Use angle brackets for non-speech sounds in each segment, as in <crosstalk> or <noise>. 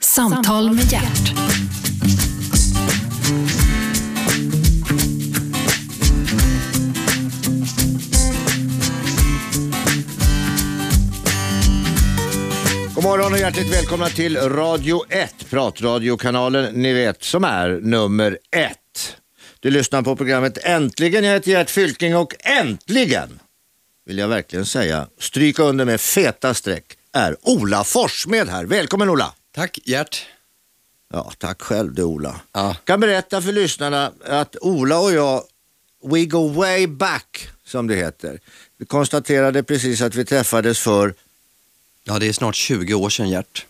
Samtal med hjärt. God morgon och hjärtligt välkomna till Radio 1, pratradiokanalen ni vet som är nummer 1. Du lyssnar på programmet Äntligen, jag heter Gert Fylking och äntligen vill jag verkligen säga, stryka under med feta streck, är Ola Forssmed här. Välkommen Ola! Tack Gert. Ja, tack själv du Ola. Ja. Kan berätta för lyssnarna att Ola och jag, we go way back som det heter. Vi konstaterade precis att vi träffades för, ja, det är snart 20 år sedan Gert.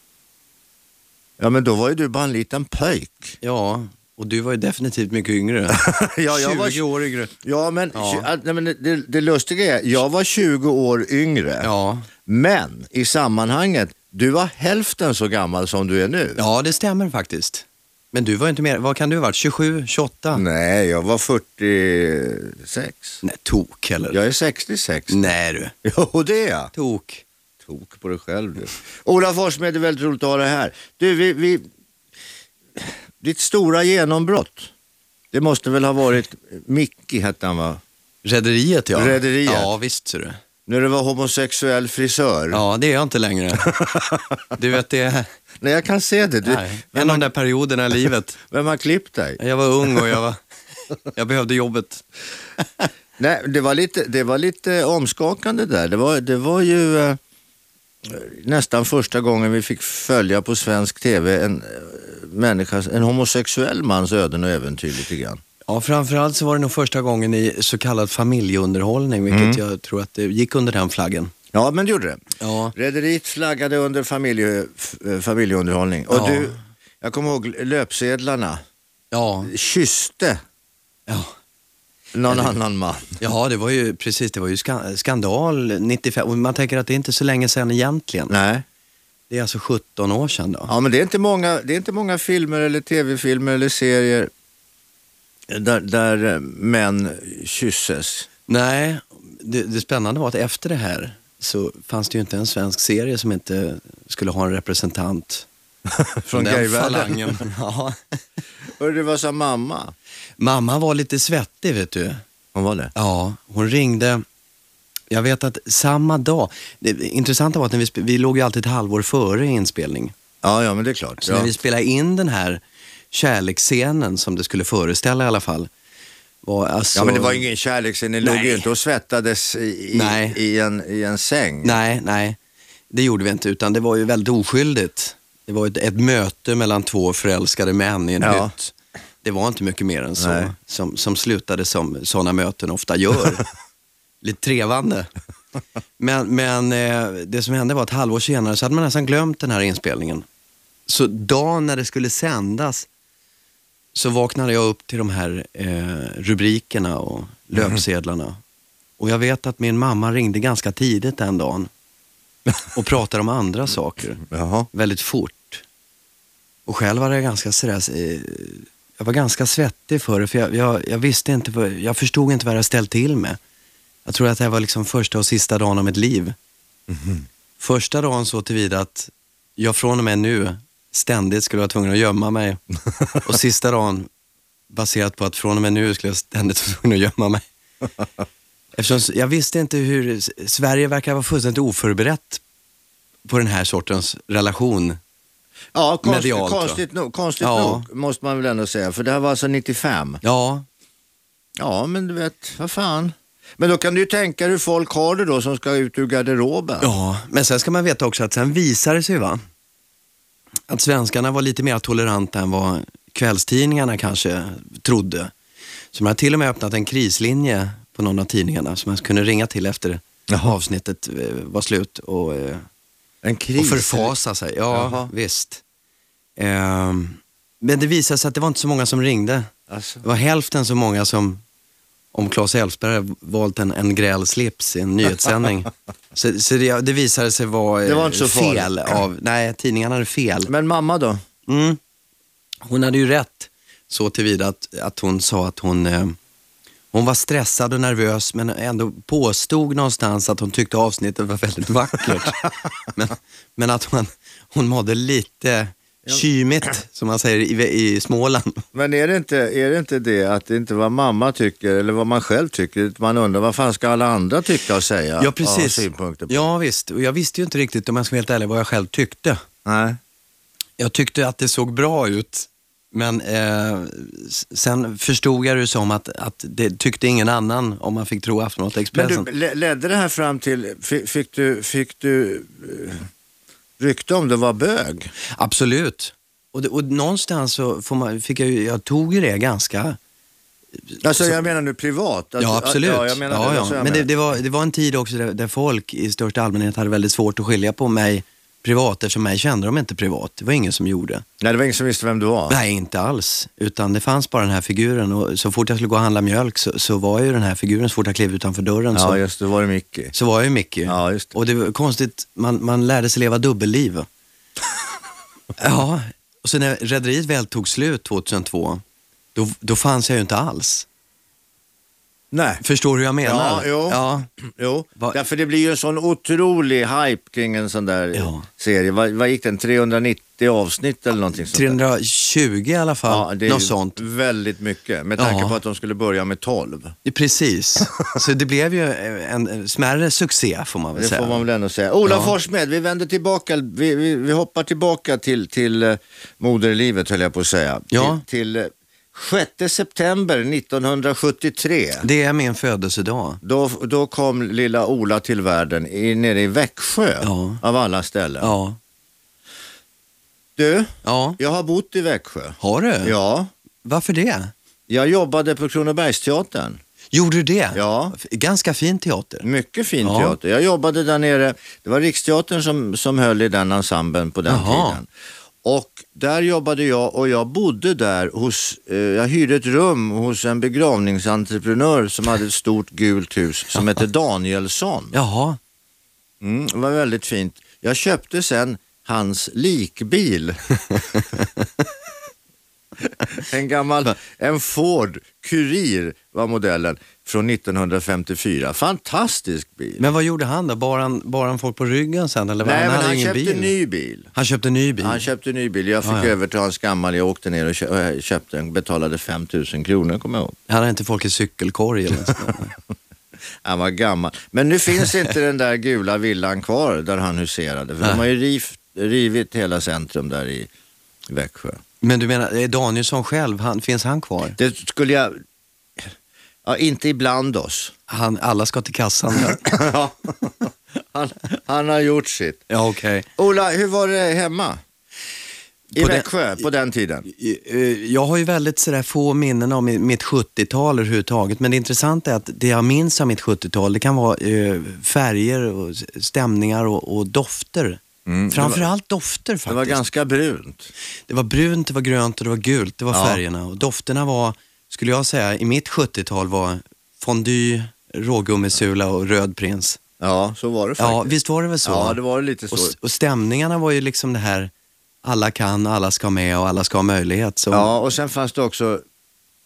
ja men då var ju du bara en liten pöjk. Ja, och du var ju definitivt mycket yngre. <laughs> Ja, jag 20 var- år yngre. Ja, men, Ja. tju- att- nej, men det, det lustiga är, jag var 20 år yngre, Ja. men i sammanhanget, du var hälften så gammal som du är nu. ja, det stämmer faktiskt. Men du var inte mer, vad kan du ha varit, 27, 28? Nej, Nej, jag var Mm. 46. tok eller? Jag är 66. Nej du, <laughs> Jo, det är jag. Mm. tok. Tok på dig själv du. Ola Forssmed, det är väldigt roligt att ha dig här. Du, vi, vi... Ditt stora genombrott, det måste väl ha varit Mickey hette han va? Rederiet ja. Rederiet. Ja, visst ser du. När du var homosexuell frisör. Ja, det är jag inte <laughs> längre. Du vet det, Nej, jag kan se det. Du, nej, en av de där perioderna i livet. Vem har klippt dig? Jag var ung och jag var, jag behövde jobbet. Nej, det var lite, det var lite omskakande där. Det var, det var ju eh, nästan första gången vi fick följa på svensk tv en, eh, människas, en homosexuell mans öden och äventyr lite grann. Ja, framförallt så var det nog första gången i så kallad familjeunderhållning, vilket jag tror att det gick under den flaggen. Ja, men det gjorde det. Ja, Rederiet flaggade under familje, f- eh, familjeunderhållning. Och Ja. du, jag kommer ihåg löpsedlarna. ja, Kysste ja. någon annan man. ja det var ju precis, det var ju ska- skandal 95, och man tänker att det är inte så länge sedan egentligen. Nej. Det är alltså 17 år sedan då. Ja, men det är inte många, det är inte många filmer eller tv-filmer eller serier där, där eh, män <laughs> kysses. Nej, det, det spännande var att efter det här så fanns det ju inte en svensk serie som inte skulle ha en representant Från den gayvärlden. <laughs> falangen. <laughs> Ja. Och det var sa mamma. Mamma var lite svettig vet du. Hon var det? Ja, hon ringde. Jag vet att samma dag, det intressanta var att när vi, spe- vi låg ju alltid ett halvår före inspelning. Ja, ja, men det är klart. Så Ja. när vi spelade in den här kärleksscenen som det skulle föreställa i alla fall. Var alltså, Ja, men det var ingen kärleksscen. Ni låg ju Nej. inte och svettades i, i, Nej. i, en, i en säng. Nej, nej, det gjorde vi inte utan det var ju väldigt oskyldigt. Det var ett, ett möte mellan två förälskade män i en Ja. hytt. Det var inte mycket mer än Nej. så. Som, som slutade som sådana möten ofta gör. Lite trevande. Men, men eh, det som hände var att ett halvår senare så hade man nästan glömt den här inspelningen. Så dagen när det skulle sändas så vaknade jag upp till de här eh, rubrikerna och löpsedlarna. Och jag vet att min mamma ringde ganska tidigt den dagen och pratade om andra saker Jaha. väldigt fort. Och själv var jag ganska sådär, eh, jag var ganska svettig för det, för jag, jag, jag visste inte, vad- jag förstod inte vad jag hade ställt till med. Jag tror att det här var liksom första och sista dagen av mitt liv. Första dagen så tillvida att jag från och med nu ständigt skulle vara tvungen att gömma mig. Och sista dagen baserat på att från och med nu skulle jag ständigt vara tvungen att gömma mig. Eftersom jag visste inte hur, Sverige verkar vara fullständigt oförberett på den här sortens relation. Ja, konstigt, Medialt, va? konstigt, nog, konstigt Ja. nog måste man väl ändå säga. För det här var alltså 95. Ja, Ja, men du vet, vad fan. Men då kan du ju tänka hur folk har det då som ska ut ur garderoben. ja. men sen ska man veta också att sen visade det sig va, att svenskarna var lite mer toleranta än vad kvällstidningarna kanske trodde. Så man har till och med öppnat en krislinje på någon av tidningarna som man kunde ringa till efter avsnittet eh, var slut och, eh, En och kris. förfasa sig. Ja, Jaha. visst. Ehm, men det visade sig att det var inte så många som ringde. Alltså. Det var hälften så många som om Claes Elfsberg hade valt en, en gräl slips i en <laughs> nyhetssändning. så så det, det visade sig vara eh, Det var inte så fel farligt. av, nej tidningarna hade fel. Men mamma då? Mm. Hon hade ju rätt så tillvida att, att hon sa att hon, eh, hon var stressad och nervös men ändå påstod någonstans att hon tyckte <laughs> avsnittet var väldigt vackert. men, men att hon, hon mådde lite Kymigt, som man säger i, i Småland. Men är det, inte, är det inte det att det inte är vad mamma tycker eller vad man själv tycker, man undrar vad fan ska alla andra tycka och säga? Ja, och ha precis. synpunkter på? Ja, visst. Och jag visste ju inte riktigt, om jag ska vara helt ärlig, vad jag själv tyckte. Nej. Jag tyckte att det såg bra ut, men eh, s- sen förstod jag det som att, att det tyckte ingen annan, om man fick tro Aftonbladet Men Expressen. du, le- ledde det här fram till, fi- fick du, fick du eh, rykte om du var bög? Absolut. Och, det, och någonstans så får man, fick jag ju, jag tog ju det ganska Alltså jag menar nu privat. Alltså, ja, absolut. Ja, jag menar ja, det, ja. alltså, jag Men det, menar. det, var, det var en tid också där, där folk i största allmänhet hade väldigt svårt att skilja på mig privat, eftersom mig kände de inte privat. Det var ingen som gjorde. Nej, det var ingen som visste vem du var. Nej, inte alls. Utan det fanns bara den här figuren och så fort jag skulle gå och handla mjölk så, så var ju den här figuren, så fort jag klev utanför dörren Ja, så, just det, var det Micke. så var jag ju Micke. Ja, just det. Och det var konstigt, man, man lärde sig leva <laughs> dubbelliv. ja, och sen när Rederiet väl tog slut 2002, då, då fanns jag ju inte alls. Nej. Förstår du hur jag Ja, menar? jo. Ja. Jo, Va- därför det blir ju en sån otrolig hype kring en sån där Ja. serie. Vad, vad gick den? 390 avsnitt eller någonting sånt där? 320 i alla fall, Ja, det är något ju sånt. väldigt mycket med tanke Ja. på att de skulle börja med 12. <laughs> Precis, så det blev ju en en smärre succé får man väl Det säga. får man väl ändå säga. Ola Ja. Forssmed, vi vänder tillbaka, vi, vi, vi hoppar tillbaka till, till eh, moderlivet höll jag på att säga. Ja. Till, till eh, 6 september 1973. Det är min födelsedag. Då, då kom lilla Ola till världen i, nere i Växjö Ja. av alla ställen. Ja. Du, ja. jag har bott i Växjö. Har du? Ja, Varför det? jag jobbade på Kronobergsteatern. Gjorde du det? Ja. Mm. F- Ganska fin teater. Mycket fin Ja. teater. Jag jobbade där nere, det var Riksteatern som, som höll i den ensemblen på den Jaha. tiden. Och där jobbade jag och jag bodde där hos, eh, jag hyrde ett rum hos en begravningsentreprenör som hade ett stort gult hus <laughs> som hette Danielsson. Jaha, Mm, det var väldigt fint. Jag köpte sen hans likbil. <laughs> en gammal, en Ford Kurir var modellen från 1954. Fantastisk bil. men vad gjorde han då? Bar han, bar han folk på ryggen sen? Eller vad? Nej, men hade han ingen köpte bil. en ny bil. Han köpte en ny bil? Ah, Han köpte en ny bil. Jag fick Ja, ja. överta hans gammal. Jag åkte ner och kö- och jag köpte den. Betalade 5 000 kronor, kommer jag ihåg. Hade inte folk i cykelkorg eller något <laughs> sånt där? Han var gammal. Men nu finns inte den där gula villan kvar där han huserade. För de Nej. har ju riv, rivit hela centrum där i Växjö. Men du menar, är Danielsson själv, han, finns han kvar? Det skulle jag... Ja, inte ibland oss. Han, alla ska till kassan där. <laughs> Ja. han, han har gjort sitt. ja, okej. Ola, hur var det hemma? I På den- Växjö, på den tiden? Eh, Jag har ju väldigt sådär få minnen av mi- mitt 70-tal överhuvudtaget. Men det intressanta är att det jag minns av mitt 70-tal, det kan vara eh, färger, och s- stämningar och, och dofter. Framförallt dofter faktiskt. Mm, Det var ganska brunt. Det var brunt, det var grönt och det var gult. Det var Ja. färgerna. Och dofterna var, skulle jag säga, i mitt 70-tal var fondue, rågummisula och röd prins. Ja, så var det faktiskt. Ja, visst var det väl så? Ja, det var lite så. och, s- och stämningarna var ju liksom det här, alla kan, alla ska med och alla ska ha möjlighet. Så Ja, och sen fanns det också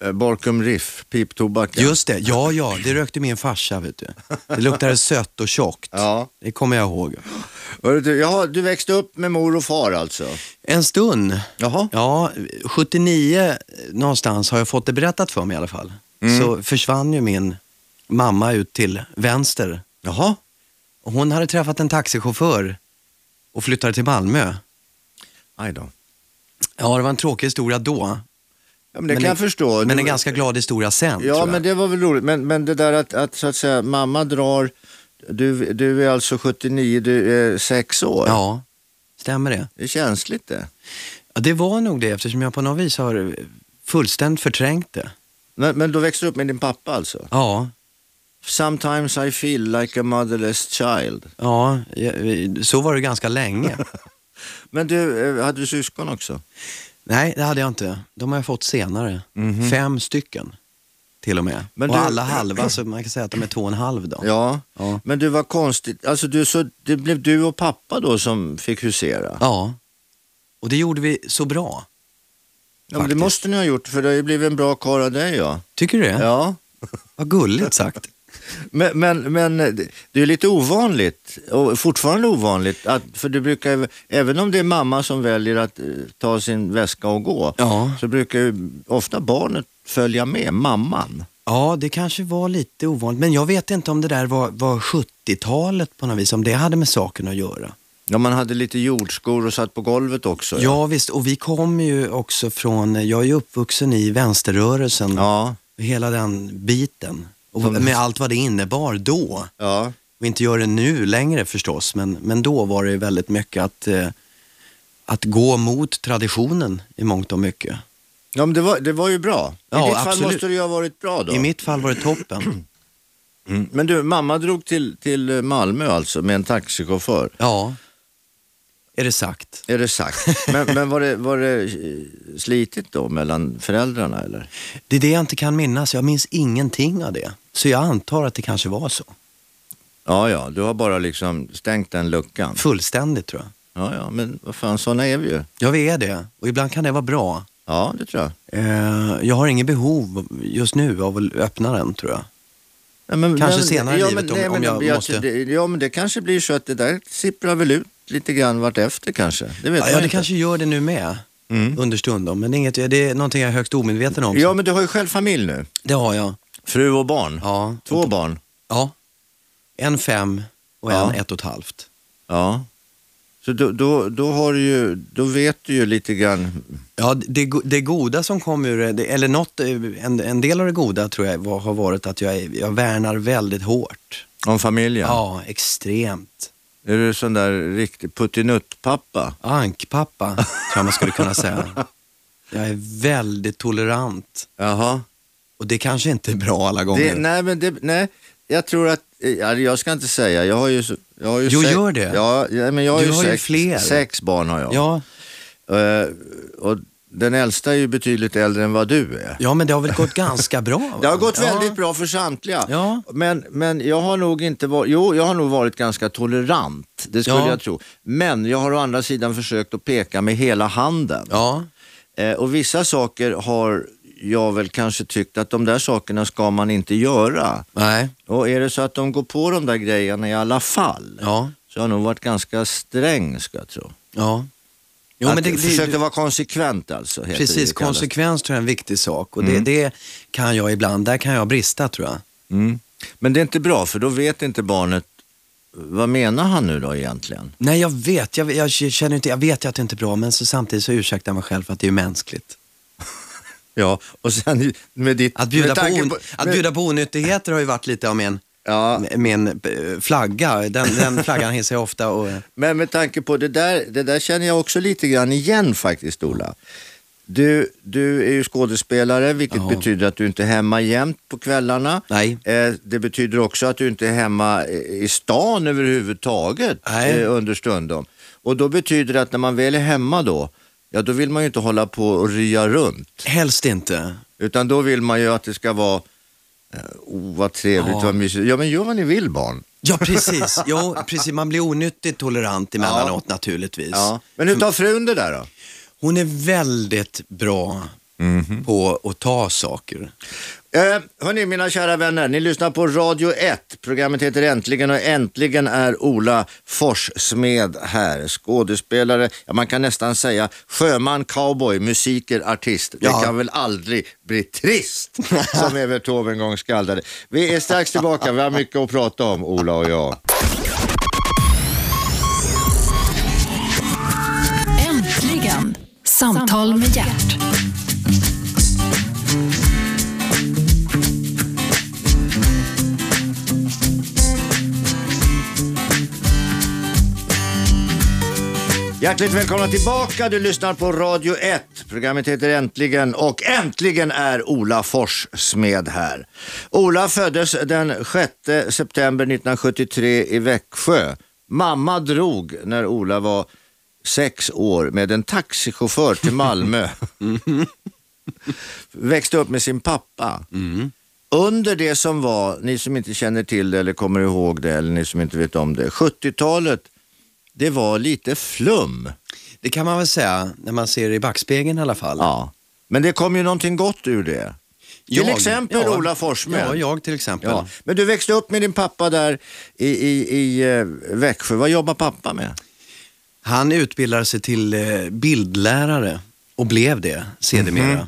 eh, Borkum Riff, piptobaken. Just det, ja ja, det rökte min farsa vet du. Det luktade sött och tjockt. Ja. Det kommer jag ihåg. Hörru Du, jaha, du växte upp med mor och far alltså? En stund, Jaha. ja, 79 eh, någonstans har jag fått det berättat för mig i alla fall. Mm. Så försvann ju min mamma ut till vänster. Jaha. Och Hon hade träffat en taxichaufför och flyttade till Malmö. Aj då. Ja, det var en tråkig historia då. Ja, men det kan jag förstå. Men Du- en ganska glad historia sen, tror Ja, jag. men det var väl roligt. Men, men det där att, att så att säga mamma drar, du, du är alltså 79, du är 6 år. Ja, stämmer det? Det är känsligt det. Ja, det var nog det eftersom jag på något vis har fullständigt förträngt det. Men, men då växte du upp med din pappa alltså? Ja, Sometimes I feel like a motherless child. Ja, jag- så var det ganska <laughs> länge. Men du, eh, hade du syskon också? Nej, det hade jag inte. De har jag fått senare. Fem stycken till och med. Mhm. Men och du- alla <clears throat> halva, så man kan säga att de är två och en halv då. Ja, Ja. men du var konstigt. Alltså du, så, det blev du och pappa då som fick husera? Ja. Och det gjorde vi så bra. Ja, men det faktiskt. måste ni ha gjort för det har ju blivit en bra karl av dig ja. Tycker du det? Ja, Vad gulligt sagt. Men, men, men det är lite ovanligt, och fortfarande ovanligt, att, för du brukar, även om det är mamma som väljer att eh, ta sin väska och gå, Ja. så brukar ju ofta barnet följa med mamman. Ja, det kanske var lite ovanligt. Men jag vet inte om det där var, var 70-talet på något vis, om det hade med saken att göra. Ja, man hade lite jordskor och satt på golvet också. Ja, visst. Och vi kommer ju också från, jag är ju uppvuxen i vänsterrörelsen, Ja, hela den biten. Och Som- med allt vad det innebar då. ja. Och inte gör det nu längre förstås, men, men då var det ju väldigt mycket att, eh, att gå mot traditionen i mångt och mycket. ja men det var, det var ju bra. I Ja, ditt fall absolut. måste det ju ha varit bra då. I mitt fall var det toppen. Mm. Men du, mamma drog till, till Malmö alltså med en taxichaufför. Ja, är det sagt. Är <laughs> det sagt. Men, men var, det, var det eh, slitigt då mellan föräldrarna eller? Det är det jag inte kan minnas. Jag minns ingenting av det. Så jag antar att det kanske var så. Ja, ja, du har bara liksom stängt den luckan. Fullständigt tror jag. Ja, ja, men vad fan, sådana är vi ju. Ja, vi är det. Och ibland kan det vara bra. Ja, det tror jag. Eh, jag har inget behov just nu av att öppna den tror jag. Ja, men, Kanske men- senare i ja, livet men, om- nej, om men, jag måste. Det, ja, men det kanske blir så att det där sipprar väl ut lite grann vartefter kanske. Det vet Ja, man ja det inte. kanske gör det nu med. Understundom. Men det är, inget, det är någonting jag är högst omedveten om. Mm. Ja, men du har ju själv familj nu. Det har jag. Fru och barn. Ja. Två barn. ja. En fem och en Ja. ett och ett halvt. Ja. Så då, då, då, har du ju, då vet du ju lite grann. Ja, det, go- det goda som kom ur det- det, eller något, eh, en, en del av det goda tror jag var, har varit att jag, är- jag värnar väldigt hårt. Om familjen. Ja, extremt. Är du sån där riktig puttinuttpappa? Ankpappa, tror jag man skulle kunna säga. Jag är väldigt tolerant. Jaha. Och det kanske inte är bra alla gånger. Det, nej, men det, nej, jag tror att, eh, ja, jag ska inte säga, jag har ju... så- Jag har ju Jo, sex- gör det. Ja, ja, men jag har Du ju, har ju sex, fler. sex barn har jag. ja, Eh, och den äldsta är ju betydligt äldre än vad du är. ja, men det har väl gått ganska bra? va? Det har gått ja. väldigt bra för samtliga. Ja. Men, men jag har nog inte varit, jo jag har nog varit ganska tolerant, det skulle Ja. jag tro. Men jag har å andra sidan försökt att peka med hela handen. Ja, Eh, och vissa saker har jag väl kanske tyckt att de där sakerna ska man inte göra. nej, Och är det så att de går på de där grejerna i alla fall, ja, så har jag nog varit ganska sträng ska jag tro. ja. Jo, att men det, det, försöka vara konsekvent alltså. Heter det, precis, det kallas. konsekvens tror jag är en viktig sak. Och Mm. det, det kan jag ibland, där kan jag brista tror jag. Mm. Men det är inte bra för då vet inte barnet, vad menar han nu då egentligen? Nej, jag vet. Jag, jag känner inte, jag vet ju att det inte är bra, men så samtidigt så ursäktar jag mig själv för att det är ju mänskligt. Ja, och sen med ditt... Att bjuda, med på, tanke on, att med- bjuda på onyttigheter har ju varit lite av min, Ja, min eh, flagga. Den, den flaggan hissar jag ofta. Och, men med tanke på det där, det där känner jag också lite grann igen faktiskt Ola. Du, du är ju skådespelare vilket Ja. betyder att du inte är hemma jämt på kvällarna. nej, Eh, Det betyder också att du inte är hemma eh, i i stan överhuvudtaget Nej. eh, understundom. Och då betyder det att när man väl är hemma då, ja då vill man ju inte hålla på och rya runt. helst inte. Utan då vill man ju att det ska vara, eh, oh, vad trevligt, Ja. vad mysigt. Ja men gör vad ni vill barn. Ja, precis. <laughs> Jo, precis. Man blir onyttigt tolerant emellanåt naturligtvis. Ja. Men hur tar frun det där då? Hon är väldigt bra Mhm. på att ta saker. Eh, hörni, mina kära vänner, ni lyssnar på Radio 1. Programmet heter Äntligen och äntligen är Ola Forssmed här. Skådespelare, ja, man kan nästan säga sjöman, cowboy, musiker, artist. Det Ja. kan väl aldrig bli trist, som Evert Taube en gång skaldade. Vi är strax tillbaka, vi har mycket att prata om, Ola och jag. Äntligen! Samtal med hjärt. Hjärtligt välkomna tillbaka, du lyssnar på Radio 1. Programmet heter Äntligen och äntligen är Ola Forssmed här. Ola föddes den 6 september 1973 i Växjö. Mamma drog när Ola var sex år med en taxichaufför till Malmö. Växte upp med sin pappa. Under det som var, ni som inte känner till det eller kommer ihåg det eller ni som inte vet om det, 70-talet det var lite flum. Det kan man väl säga när man ser det i backspegeln i alla fall. Ja. Men det kom ju någonting gott ur det. Till exempel Ola Forssmed. Ja, jag till exempel. Ja. Men du växte upp med din pappa där i, i, i eh, Växjö. Vad jobbar pappa med? Han utbildade sig till eh, bildlärare och blev det sedermera. Mhm.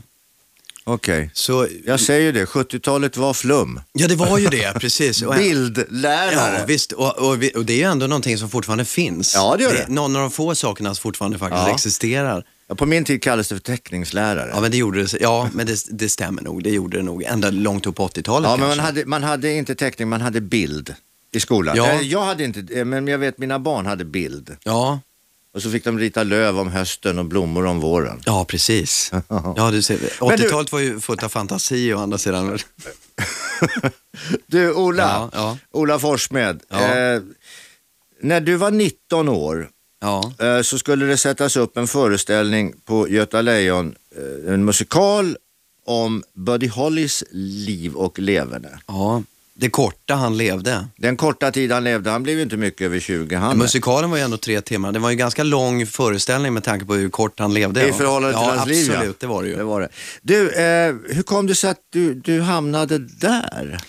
Okej. Så, Jag säger det, 70-talet var flum. ja, det var ju <laughs> det, precis. Och- Bildlärare. Ja, visst. Och, och, vi- och det är ju ändå någonting som fortfarande finns. Ja, det gör det. Någon av de få sakerna som fortfarande faktiskt Ja. existerar. Ja, På min tid kallades det för teckningslärare. Ja, men det gjorde det. Ja, men det, det stämmer nog. Det gjorde det nog ända långt upp på 80-talet Ja, men man kanske. hade, man hade inte teckning, man hade bild i skolan. Ja. Eh, Jag hade inte eh, men jag vet mina barn hade bild. Ja, Och så fick de rita löv om hösten och blommor om våren. ja <laughs> precis. Ja, du ser, Men du- 80-talet var ju fullt av fantasi å andra sidan. Du Ola, Ja, ja. Ola Forssmed. Ja. Eh, när du var 19 år Ja, eh, så skulle det sättas upp en föreställning på Göta Lejon, eh, en musikal om Buddy Hollys liv och leverne. ja. Det korta han levde. Den korta tid han levde, han blev ju inte mycket över 20 han. Musikalen var ju ändå tre timmar. Det var ju en ganska lång föreställning med tanke på hur kort han levde. I förhållande till ja, hans liv absolut, det var det ju. det var det. Du, eh, hur kom det sig att du, du hamnade där?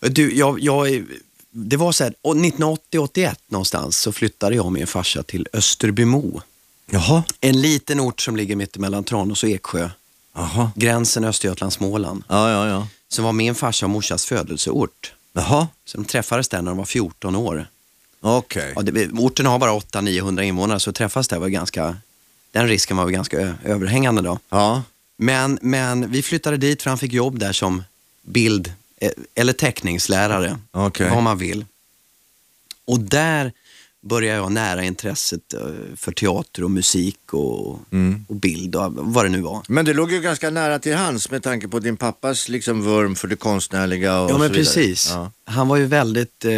Du, jag, jag, är- det var så här, och 1980-81 någonstans så flyttade jag och min farsa till Österbymo. Jaha. En liten ort som ligger mitt emellan Tranås och Eksjö. Jaha. Gränsen Östergötland-Småland. Ja, ja, ja. Som var min farsa och morsas födelseort. Jaha. Så de träffades där när de var 14 år. Okej. Ja, det, orten har bara 800-900 invånare så träffas där var ganska, den risken var väl ganska ö- överhängande då. Ja. Men, men vi flyttade dit för han fick jobb där som bild eh, eller teckningslärare. Okej. Vad man vill. Och där började jag nära intresset eh, för teater och musik och, och bild och vad det nu var. Men det låg ju ganska nära till hans med tanke på din pappas liksom vurm för det konstnärliga och Ja så men vidare. precis. Ja. Han var ju väldigt eh,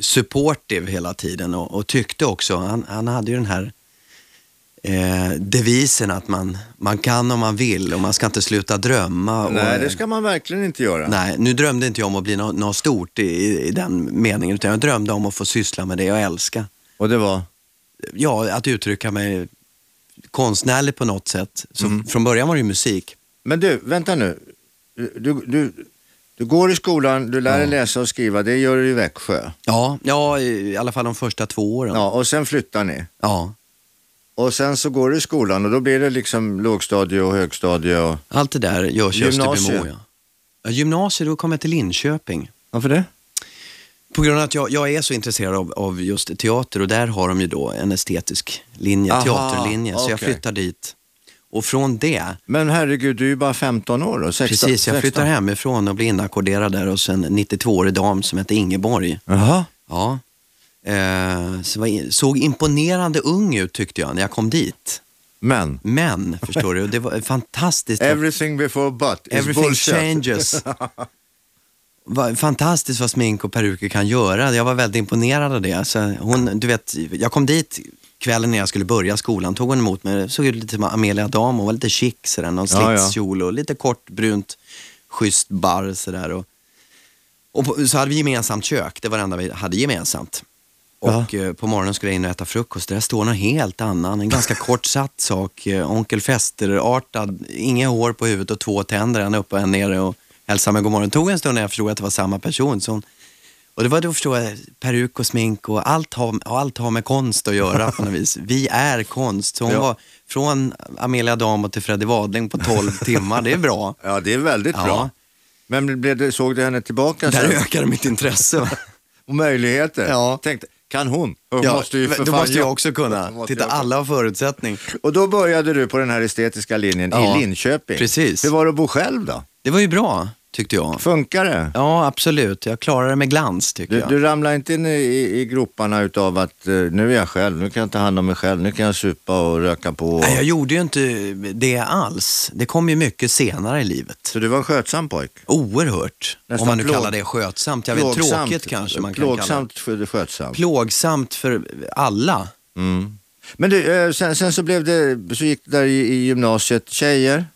supportive hela tiden och, och tyckte också, han, han hade ju den här eh, devisen att man, man kan om man vill och man ska inte sluta drömma. Nej, och, det ska man verkligen inte göra. Nej, nu drömde inte jag om att bli något, något stort i, i, i den meningen, utan jag drömde om att få syssla med det jag älskar. Och det var? Ja, att uttrycka mig konstnärligt på något sätt. Så Mm. Från början var det ju musik. Men du, vänta nu. Du, du, du går i skolan, du lär dig läsa och skriva, det gör du i Växjö. Ja, ja, i i alla fall de första två åren. Ja, och sen flyttar ni. ja. Och sen så går du i skolan och då blir det liksom lågstadie och högstadie och... Allt det där görs i Gymnasiet. Österbymo. Ja. Ja, gymnasiet, då kom jag till Linköping. Varför det? På grund av att jag, jag är så intresserad av, av just teater och där har de ju då en estetisk linje, Aha, teaterlinje. Så jag okej. flyttar dit. Och från det, Men herregud, du är ju bara 15 år då? 16, precis, jag 16. flyttar hemifrån och blir inackorderad där hos en 92-årig dam som hette Ingeborg. Jaha. Ja. Eh, så var, in- såg imponerande ung ut tyckte jag när jag kom dit. Men, Men, förstår du, det <laughs> var fantastiskt. everything before but is Everything bullshit. changes. Va- Fantastiskt <laughs> vad smink och peruker kan göra. Jag var väldigt imponerad av det. Så hon, du vet, jag kom dit kvällen när jag skulle börja skolan, tog hon emot mig. Såg ut lite som Amelia Dam, hon var lite chic sådär, någon Ja, ja. slitskjol och lite kort brunt, schysst barr sådär. Och, och på, så hade vi gemensamt kök, det var det enda vi hade gemensamt. Och eh, på morgonen skulle jag in och äta frukost. Där står någon helt annan, en ganska kortsatt sak. Eh, Onkel Fester-artad, inga hår på huvudet och två tänder, en uppe och en nere och hälsade mig god morgon. Det tog en stund när jag förstod att det var samma person. Så hon, och det var då förstod jag, peruk och smink och allt har, och allt har med konst att göra på något vis. Vi är konst. Så hon Ja. var från Amelia Damo till Freddy Wadling på 12 timmar, det är bra. Ja, det är väldigt Ja. bra. Men blev det, såg du henne tillbaka Där sen? ökade mitt intresse. va? Och möjligheter? Ja. Tänkte, kan hon? Hon Ja, måste ju för då fan måste jag göra- också Då kunna. måste Titta, jag kunna. alla har förutsättning. Och då började du på den här estetiska linjen Ja, i Linköping. precis. Hur var det att bo själv då? Det var ju bra, tyckte jag. Funkar det? Ja, absolut. Jag klarade det med glans, tycker Du, jag. du ramlar inte in i, i, i groparna utav att eh, nu är jag själv, nu kan jag ta hand om mig själv, nu kan jag supa och röka på. Och... Nej, jag gjorde ju inte det alls. Det kom ju mycket senare i livet. Så du var en skötsam pojk? Oerhört. Nästan om man nu plåg- kallar det skötsamt. Jag vet, tråkigt kanske man kan kalla det. Plågsamt skö- skötsam. Plågsamt för alla. Mm. Men du, eh, sen, sen så, blev det, så gick det där i, i gymnasiet, tjejer?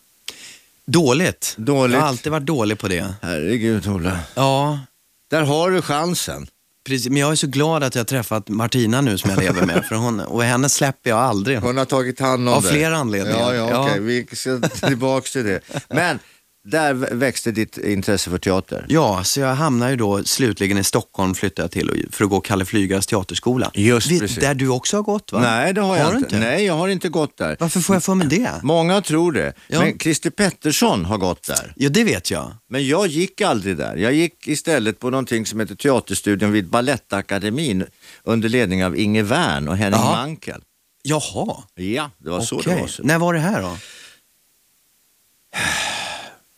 Dåligt. Dåligt. Jag har alltid varit dålig på det. Herregud Ola. Ja, Där har du chansen. precis. Men jag är så glad att jag har träffat Martina nu som jag lever med. För hon, och henne släpper jag aldrig. Hon har tagit hand om Av dig. flera anledningar. Ja, ja, Ja. okej. Vi ska tillbaka till det. Men Där växte ditt intresse för teater? Ja, så jag hamnade ju då slutligen i Stockholm flyttade jag till och- för att gå Kalle Flygares teaterskola. Just Vi- precis. Där du också har gått va? Nej, det har, du jag inte. Nej, Mm. jag har inte gått där. Varför får jag för mig det? Många tror det. Ja. Men Christer Pettersson har gått där. Ja, det vet jag. Men jag gick aldrig där. Jag gick istället på någonting som heter Teaterstudion vid Balettakademin under ledning av Inge Wern och Henning Jaha. Mankell. Jaha, Ja, det var så det okej. var. Så. När var det här då?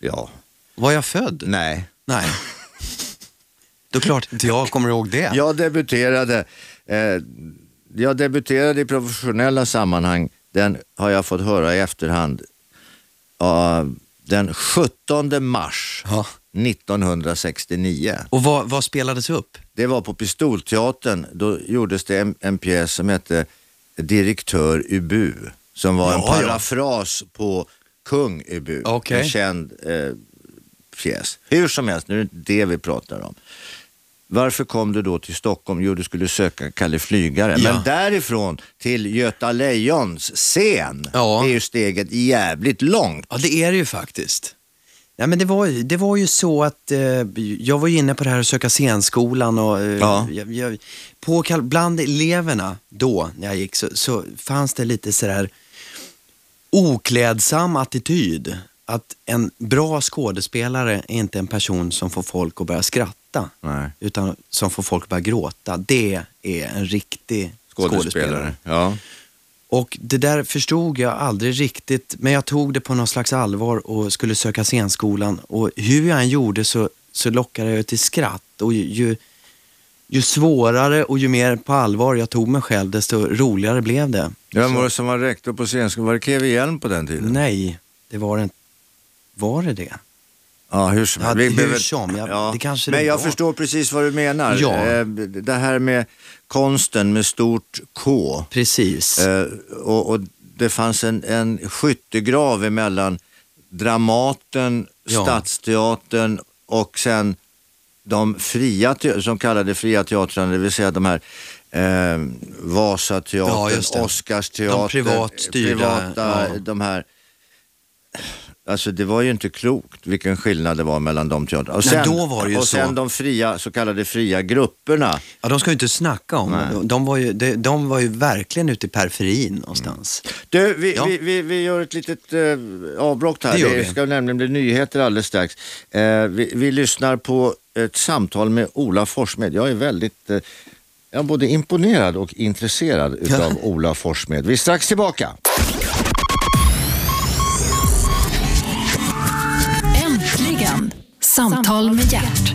Ja, Var jag född? nej. <laughs> Nej. Då klart inte jag kommer ihåg det. Jag debuterade, eh, jag debuterade i professionella sammanhang, den har jag fått höra i efterhand, ja, den 17 mars Ja. 1969. Och vad, vad spelades upp? Det var på Pistolteatern, då gjordes det en, en pjäs som hette Direktör Ubu, som var en Ja, ja. parafras på Kung Ubu, Okej. en känd eh, pjäs. Hur som helst, nu är det inte det vi pratar om. Varför kom du då till Stockholm? Jo, du skulle söka Kalle Flygare. Ja. Men därifrån till Göta Lejons scen Ja. är ju steget jävligt långt. Ja, det är det ju faktiskt. Ja, men det, var, ju- det var ju så att eh, jag var ju inne på det här att söka scenskolan och eh, Ja. jag, jag, på, Kal- bland eleverna då när jag gick så, så fanns det lite sådär oklädsam attityd. Att en bra skådespelare är inte en person som får folk att börja skratta. Nej. Utan som får folk att börja gråta. Det är en riktig skådespelare. Ja. Och det där förstod jag aldrig riktigt, men jag tog det på någon slags allvar och skulle söka scenskolan. Och hur jag än gjorde så, så lockade jag till skratt. Och ju, ju, ju svårare och ju mer på allvar jag tog mig själv, desto roligare blev det. Vem Så- var det som var rektor på scenskolan? Var det Kevin Hjelm på den tiden? Nej, det var det inte. Var det det? Ja, hur som Ja, helst. Vi hur behöver- som, ja, det kanske det Men jag var. förstår precis vad du menar. Ja. Eh, Det här med konsten med stort K. Precis. Eh, Och, och det fanns en, en skyttegrav emellan Dramaten, Ja. Stadsteatern och sen de fria, te- som kallade fria teatrarna, det vill säga de här eh, Ja, Vasateatern, just det. Oscarsteatern, De privat styrda, privata, ja. de här. Alltså det var ju inte klokt vilken skillnad det var mellan de teatrarna. Och Nej, då var det ju och så. sen de fria, så kallade fria grupperna. Ja, de ska ju inte snacka om det. De, de, var ju, de, de var ju verkligen ute i periferin någonstans. Du, vi, Ja. vi, vi, vi gör ett litet eh, avbrott här. Det gör Det, vi. ska nämligen bli nyheter alldeles strax. Eh, vi, vi lyssnar på ett samtal med Ola Forssmed. Jag är väldigt eh, jag är både imponerad och intresserad utav Ola Forssmed. Vi är strax tillbaka. Äntligen! Samtal med hjärt.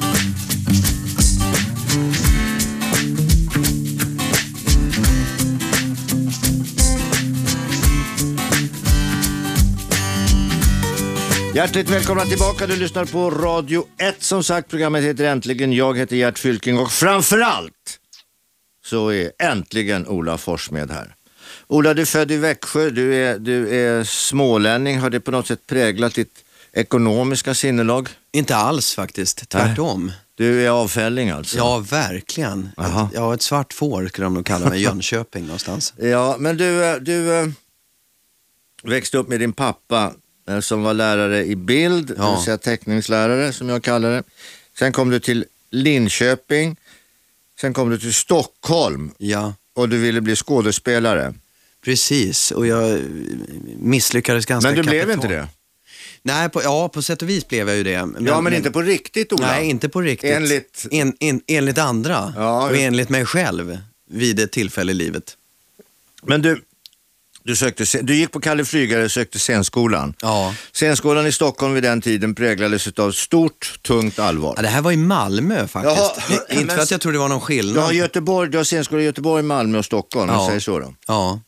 Hjärtligt välkomna tillbaka. Du lyssnar på Radio 1 som sagt. Programmet heter Äntligen. Jag heter Gert Fylking och framförallt så är äntligen Ola Forssmed här. Ola, du är född i Växjö. Du är, du är smålänning. Har det på något sätt präglat ditt ekonomiska sinnelag? Inte alls faktiskt, tvärtom. Du är avfälling alltså? Ja, verkligen. Jaha. Ett, ja, ett svart får skulle de nog kalla <laughs> mig, i Jönköping någonstans. Ja, men du, eh, du eh, växte upp med din pappa eh, som var lärare i bild, det Ja. vill säga teckningslärare som jag kallar det. Sen kom du till Linköping, sen kom du till Stockholm Ja, och du ville bli skådespelare. precis. Och jag eh, misslyckades ganska Men du kapitalt. blev inte det? Nej, på, ja, på sätt och vis blev jag ju det. ja, men inte på riktigt Ola. Nej, inte på riktigt. Enligt- en, en, enligt andra Ja, och just- enligt mig själv vid ett tillfälle i livet. Men du, du, sökte, scen- du gick på Kalle Flygare och sökte scenskolan. Ja. Scenskolan i Stockholm vid den tiden präglades av stort, tungt allvar. ja, det här var i Malmö faktiskt. Jaha, inte men- för att jag tror det var någon Du har skillnad. Göteborg, du har scenskola i Göteborg, Malmö och Stockholm, om Ja. jag säger så då. Ja.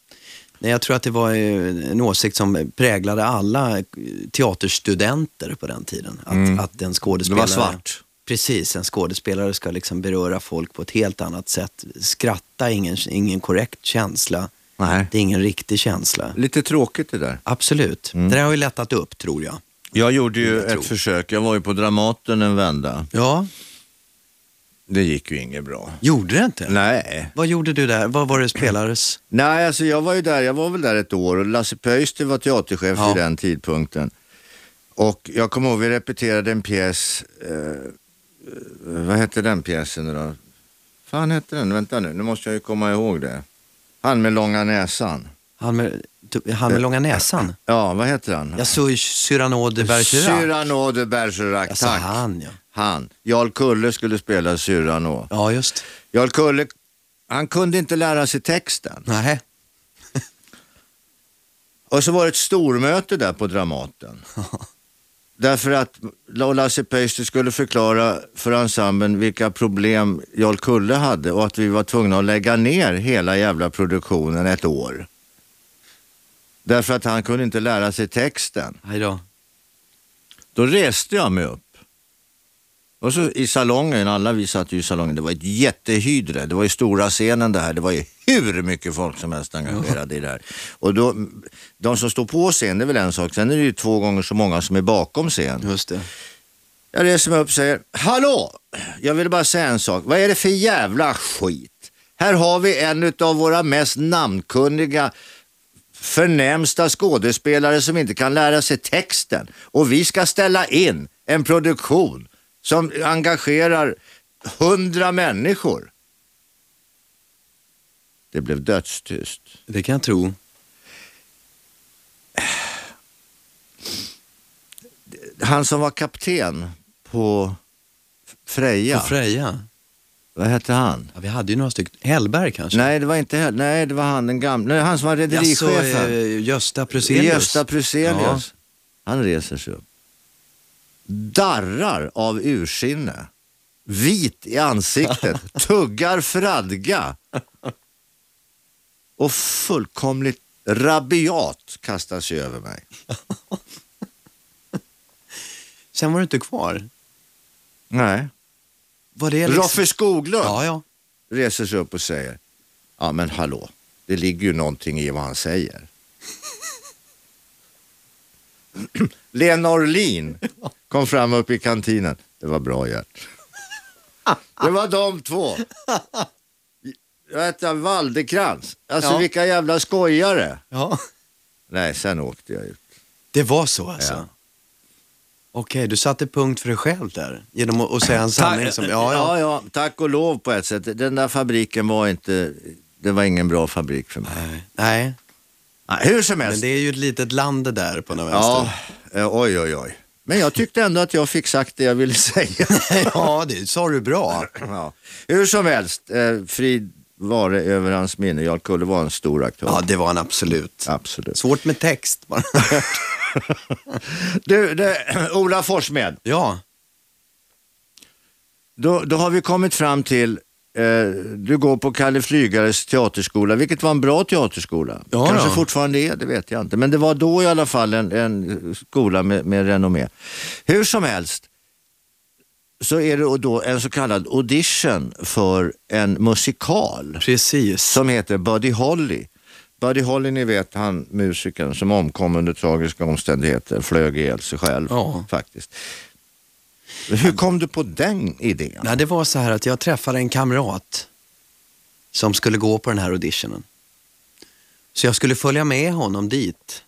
Nej, jag tror att det var eh, en åsikt som präglade alla eh, teaterstudenter på den tiden. Att, att en skådespelare... Mm. Det var svart. Precis, en skådespelare ska liksom beröra folk på ett helt annat sätt. Skratta är ingen, ingen korrekt känsla. Nej. Det är ingen riktig känsla. Lite tråkigt det där. Absolut. Mm. Det där har ju lättat upp, tror jag. Jag gjorde ju Jag ett tror. försök. Jag var ju på Dramaten en vända. Ja, Det gick ju inget bra. gjorde det inte? Nej. Vad gjorde du där? Vad var det spelades? Nej, alltså jag var ju där. Jag var väl där ett år och Lasse Pöyster var teaterchef Ja. vid den tidpunkten. Och jag kommer ihåg vi repeterade en pjäs, eh, vad hette den pjäsen nu då? fan hette den? Vänta nu, nu måste jag ju komma ihåg det. Han med långa näsan. Han med, typ- han med långa näsan. Ja, vad heter han? Jag såg Cyrano de Bergerac. Cyrano de Bergerac, Jag sa tack. han ja. Han. Jarl Kulle skulle spela Cyrano. Ja just. Jarl Kulle, han kunde inte lära sig texten. Nej. Och så var det ett stormöte där <laughs> på Dramaten. Därför att Lasse Pöyster skulle förklara för ensemblen vilka problem Jarl Kulle hade och att vi var tvungna att lägga ner hela jävla produktionen ett år. Därför att han kunde inte lära sig texten. Hej då. Då reste jag mig upp. Och så i salongen, alla vi satt ju i salongen, det var ett jättehydre. Det var ju stora scenen det här. Det var ju hur mycket folk som helst engagerade i det här. Och då, de som står på scen, det är väl en sak. Sen är det ju två gånger så många som är bakom scen. Just det. Jag reser mig upp och säger, hallå! Jag vill bara säga en sak. Vad är det för jävla skit? Här har vi en av våra mest namnkunniga förnämsta skådespelare som inte kan lära sig texten. Och vi ska ställa in en produktion som engagerar hundra människor. Det blev dödstyst. Det kan jag tro. Han som var kapten på Freja, Och Freja. vad hette han? Ja, vi hade ju några stycken. Hellberg kanske? Nej, det var inte heller. Nej, det var han den gamla. Nej, han som var Jaså, rederichefen. eh, Gösta Pruselius. Gösta Pruselius. Han reser sig upp. Darrar av ursinne. Vit i ansiktet. <laughs> Tuggar fradga. Och fullkomligt rabiat kastar sig över mig. Sen var du inte kvar. Nej. Var det liksom... Roffe Skoglund Ja, ja. reser sig upp och säger. Ja men hallå. Det ligger ju någonting i vad han säger. <clears throat> Lena Orlin kom fram upp i kantinen. Det var bra Gert. Det var de två. Jag heter Waldekrans. Alltså Ja. vilka jävla skojare. ja. Nej, sen åkte jag ut. Det var så alltså? Ja. Okej, du satte punkt för dig själv där. Genom att, att säga en sanning som... Ja, ja. ja, ja, tack och lov på ett sätt. Den där fabriken var inte, det var ingen bra fabrik för mig. Nej. Nej, Nej, hur som helst. men det är ju ett litet land det där på något Ja, vänster. <laughs> eh, oj oj oj. Men jag tyckte ändå att jag fick sagt det jag ville <laughs> säga. ja, det sa du bra. ja. Hur som helst, eh, frid vare över hans minne. Jarl Kulle var en stor aktör. Ja, det var en absolut. Absolut. Svårt med text bara. Du, det, Ola Forssmed, ja, då, då har vi kommit fram till eh, du går på Kalle Flygares teaterskola, vilket var en bra teaterskola. Ja, Kanske då. fortfarande är, det vet jag inte. Men det var då i alla fall en, en skola med, med renommé. Hur som helst, så är det då en så kallad audition för en musikal precis. som heter Buddy Holly. Buddy Holly, ni vet han musikern som omkom under tragiska omständigheter, flög ihjäl sig själv Ja. faktiskt. Hur kom du på den idén? Nej, det var så här att jag träffade en kamrat som skulle gå på den här auditionen. Så jag skulle följa med honom dit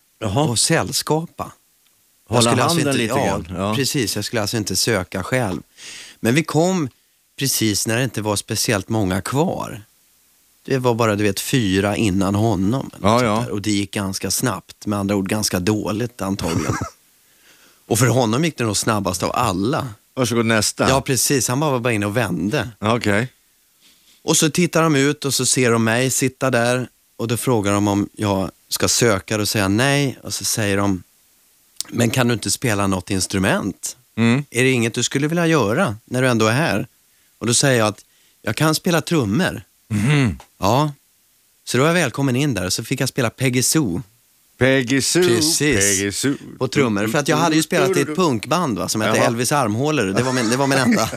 och sällskapa. Jag Hålla skulle alltså handen inte, ja, lite grann. Ja. Precis, jag skulle alltså inte söka själv. Men vi kom precis när det inte var speciellt många kvar. Det var bara, du vet, fyra innan honom. eller Ja, något ja. sånt där. Och det gick ganska snabbt, med andra ord ganska dåligt <laughs> antagligen. och för honom gick det nog snabbast av alla. Varsågod nästa. Ja, precis. Han bara var bara inne och vände. Okej. Och så tittar de ut och så ser de mig sitta där och då frågar de om jag ska söka och säga nej och så säger de, men kan du inte spela något instrument? Mm. Är det inget du skulle vilja göra när du ändå är här? Och då säger jag att jag kan spela trummor. Ja, så då var jag välkommen in där och så fick jag spela Peggy Sue Peggy Sue. Precis. Peggy Sue. på trummor. För att jag hade ju spelat i ett punkband va, som hette Jaha. Elvis Armhålor. Det var min, det var min enda...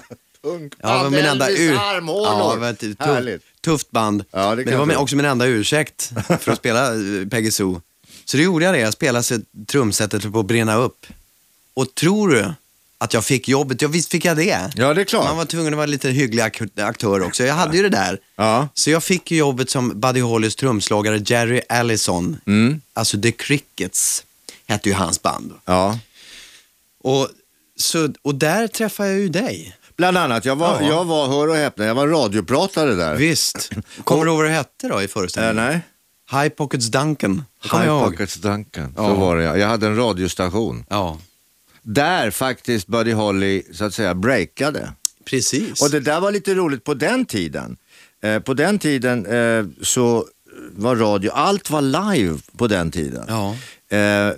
Punk. Ja, det var min enda Elvis ur... armhålor. Ja, det var ett tuff, Härligt. tufft band. Ja, det kan Men det jag var min, tro. också min enda <laughs> ursäkt för att spela eh, Peggy Sue. Så det gjorde jag det. Jag spelade så trumsetet på att brinna upp. Och tror du att jag fick jobbet? Ja, visst fick jag det. Ja, det är klart. Man var tvungen att vara lite hygglig ak- aktör också. Jag hade ju det där. Ja. Så jag fick ju jobbet som Buddy Hollys trumslagare Jerry Mm. Allison. Alltså The Crickets hette ju hans band. Ja. Och, så, och där träffade jag ju dig. Bland annat, jag var, Ja. jag var hör och häpna, jag var radiopratare där. Visst. Kommer du ihåg vad det hette då i Eh, föreställningen? nej, High Pockets Duncan. Det kommer High jag ihåg. Pockets Duncan. Så Ja. var det jag. Jag hade en radiostation. Ja, Där faktiskt Buddy Holly så att säga breakade. precis. Och det där var lite roligt på den tiden. Eh, på den tiden eh, så var radio, allt var live på den tiden. Ja. Eh,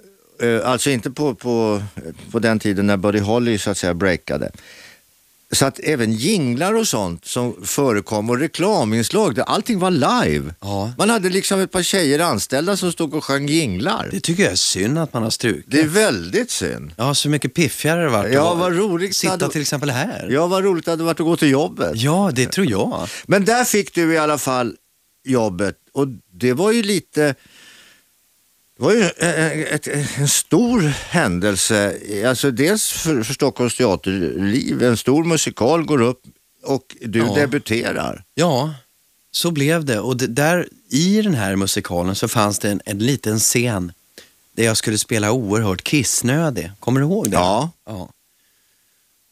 eh, alltså inte på, på, på den tiden när Buddy Holly så att säga breakade. Så att även jinglar och sånt som förekom och reklaminslag, det- allting var live. Ja. Man hade liksom ett par tjejer anställda som stod och sjöng jinglar. Det tycker jag är synd att man har strukit. Det är väldigt synd. Ja, så mycket piffigare det varit. Ja, att vad roligt. Sitta till exempel här. Ja, vad roligt det hade varit att gå till jobbet. Ja, det tror jag. Men där fick du i alla fall jobbet och det var ju lite det var ju eh, ett, en stor händelse, alltså dels för, för Stockholms teaterliv, en stor musikal går upp och du Ja. debuterar. Ja, så blev det. Och det, där i den här musikalen så fanns det en, en liten scen där jag skulle spela oerhört kissnödig. Kommer du ihåg det? Ja. ja.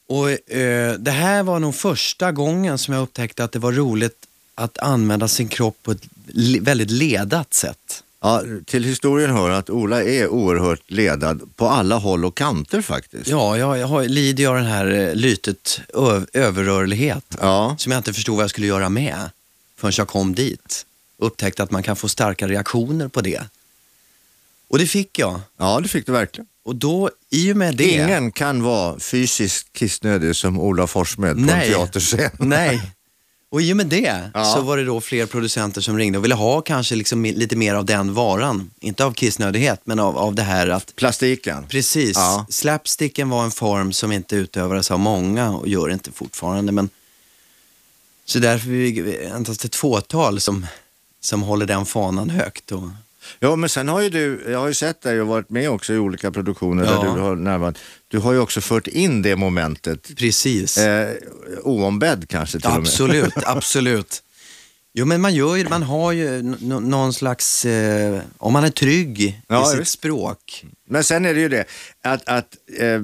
Och eh, det här var nog första gången som jag upptäckte att det var roligt att använda sin kropp på ett le- väldigt ledat sätt. Ja, till historien hör att Ola är oerhört ledad på alla håll och kanter faktiskt. Ja, jag, jag har, lider jag av den här eh, lytet ö- överrörlighet Ja. som jag inte förstod vad jag skulle göra med förrän jag kom dit. Upptäckte att man kan få starka reaktioner på det. Och det fick jag. ja, det fick du verkligen. Och då, i och med det... Ingen kan vara fysiskt kissnödig som Ola Forssmed på en Nej. teaterscen. Nej. Och i och med det Ja. så var det då fler producenter som ringde och ville ha kanske liksom mi- lite mer av den varan. Inte av kissnödighet, men av, av det här att <laughs> Plastiken. Precis. Ja. Slapsticken var en form som inte utövades av många och gör inte fortfarande. Men... Så därför är vi endast ett fåtal som, som håller den fanan högt. Och... Ja, men sen har ju du, jag har ju sett dig och varit med också i olika produktioner där Ja. du har närmat. Du har ju också fört in det momentet, Precis. eh, oombedd kanske till absolut, <laughs> absolut. Jo men man gör ju, man har ju n- n- någon slags, eh, om man är trygg Ja, i sitt visst. språk. och med. Men sen är det ju det att, att eh,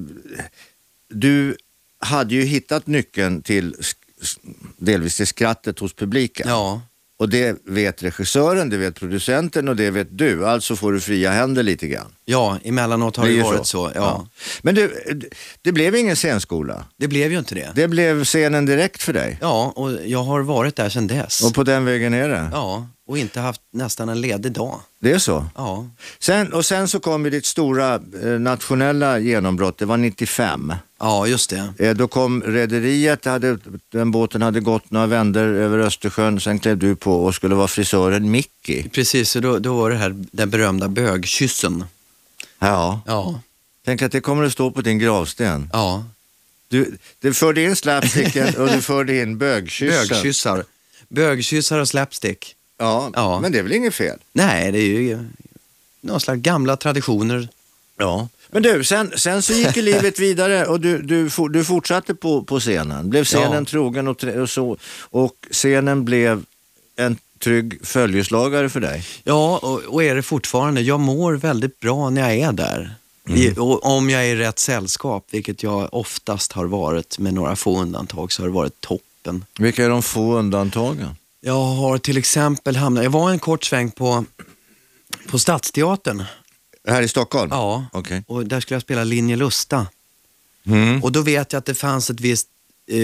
du hade ju hittat nyckeln till sk- s- delvis till skrattet hos publiken. Ja, Och det vet regissören, det vet producenten och det vet du. Alltså får du fria händer lite grann. ja emellanåt har det, ju varit så. ja. Men du, eh, det blev ingen scenskola. Det blev ju inte det. Det blev scenen direkt för dig. Ja, och jag har varit där sedan dess. Och på den vägen är det. Ja, och inte haft nästan en ledig dag. Det är så. Ja, Sen, och sen så kom ju ditt stora eh, nationella genombrott, det var 95. ja just det. Eh, då kom rederiet, det hade, den båten hade gått några vändor över Östersjön, sen klev du på och skulle vara frisören Mickey. Precis, och då, då var det här den berömda bögkyssen. Ja, Ja, tänk att det kommer att stå på din gravsten. ja. Du, du förde <laughs> in slapsticken och du förde in bögkyssen. Bögkyssar. Bögkyssar och slapstick. Ja, Ja. men det är väl inget fel? Nej, det är ju någon slags gamla traditioner. Ja. Men du, sen, sen så <laughs> gick ju livet vidare och du, du, for- du fortsatte på, på scenen. Blev scenen Ja. trogen och, tre- och så. Och scenen blev en trygg följeslagare för dig. Ja, och, och är det fortfarande. Jag mår väldigt bra när jag är där. I, och om jag är i rätt sällskap, vilket jag oftast har varit, med några få undantag, så har det varit toppen. Vilka är de få undantagen? Jag har till exempel hamnat, jag var en kort sväng på, på Stadsteatern. Här i Stockholm? Ja, Okej. och där skulle jag spela Linje Lusta. Mm. Och då vet jag att det fanns ett visst, eh,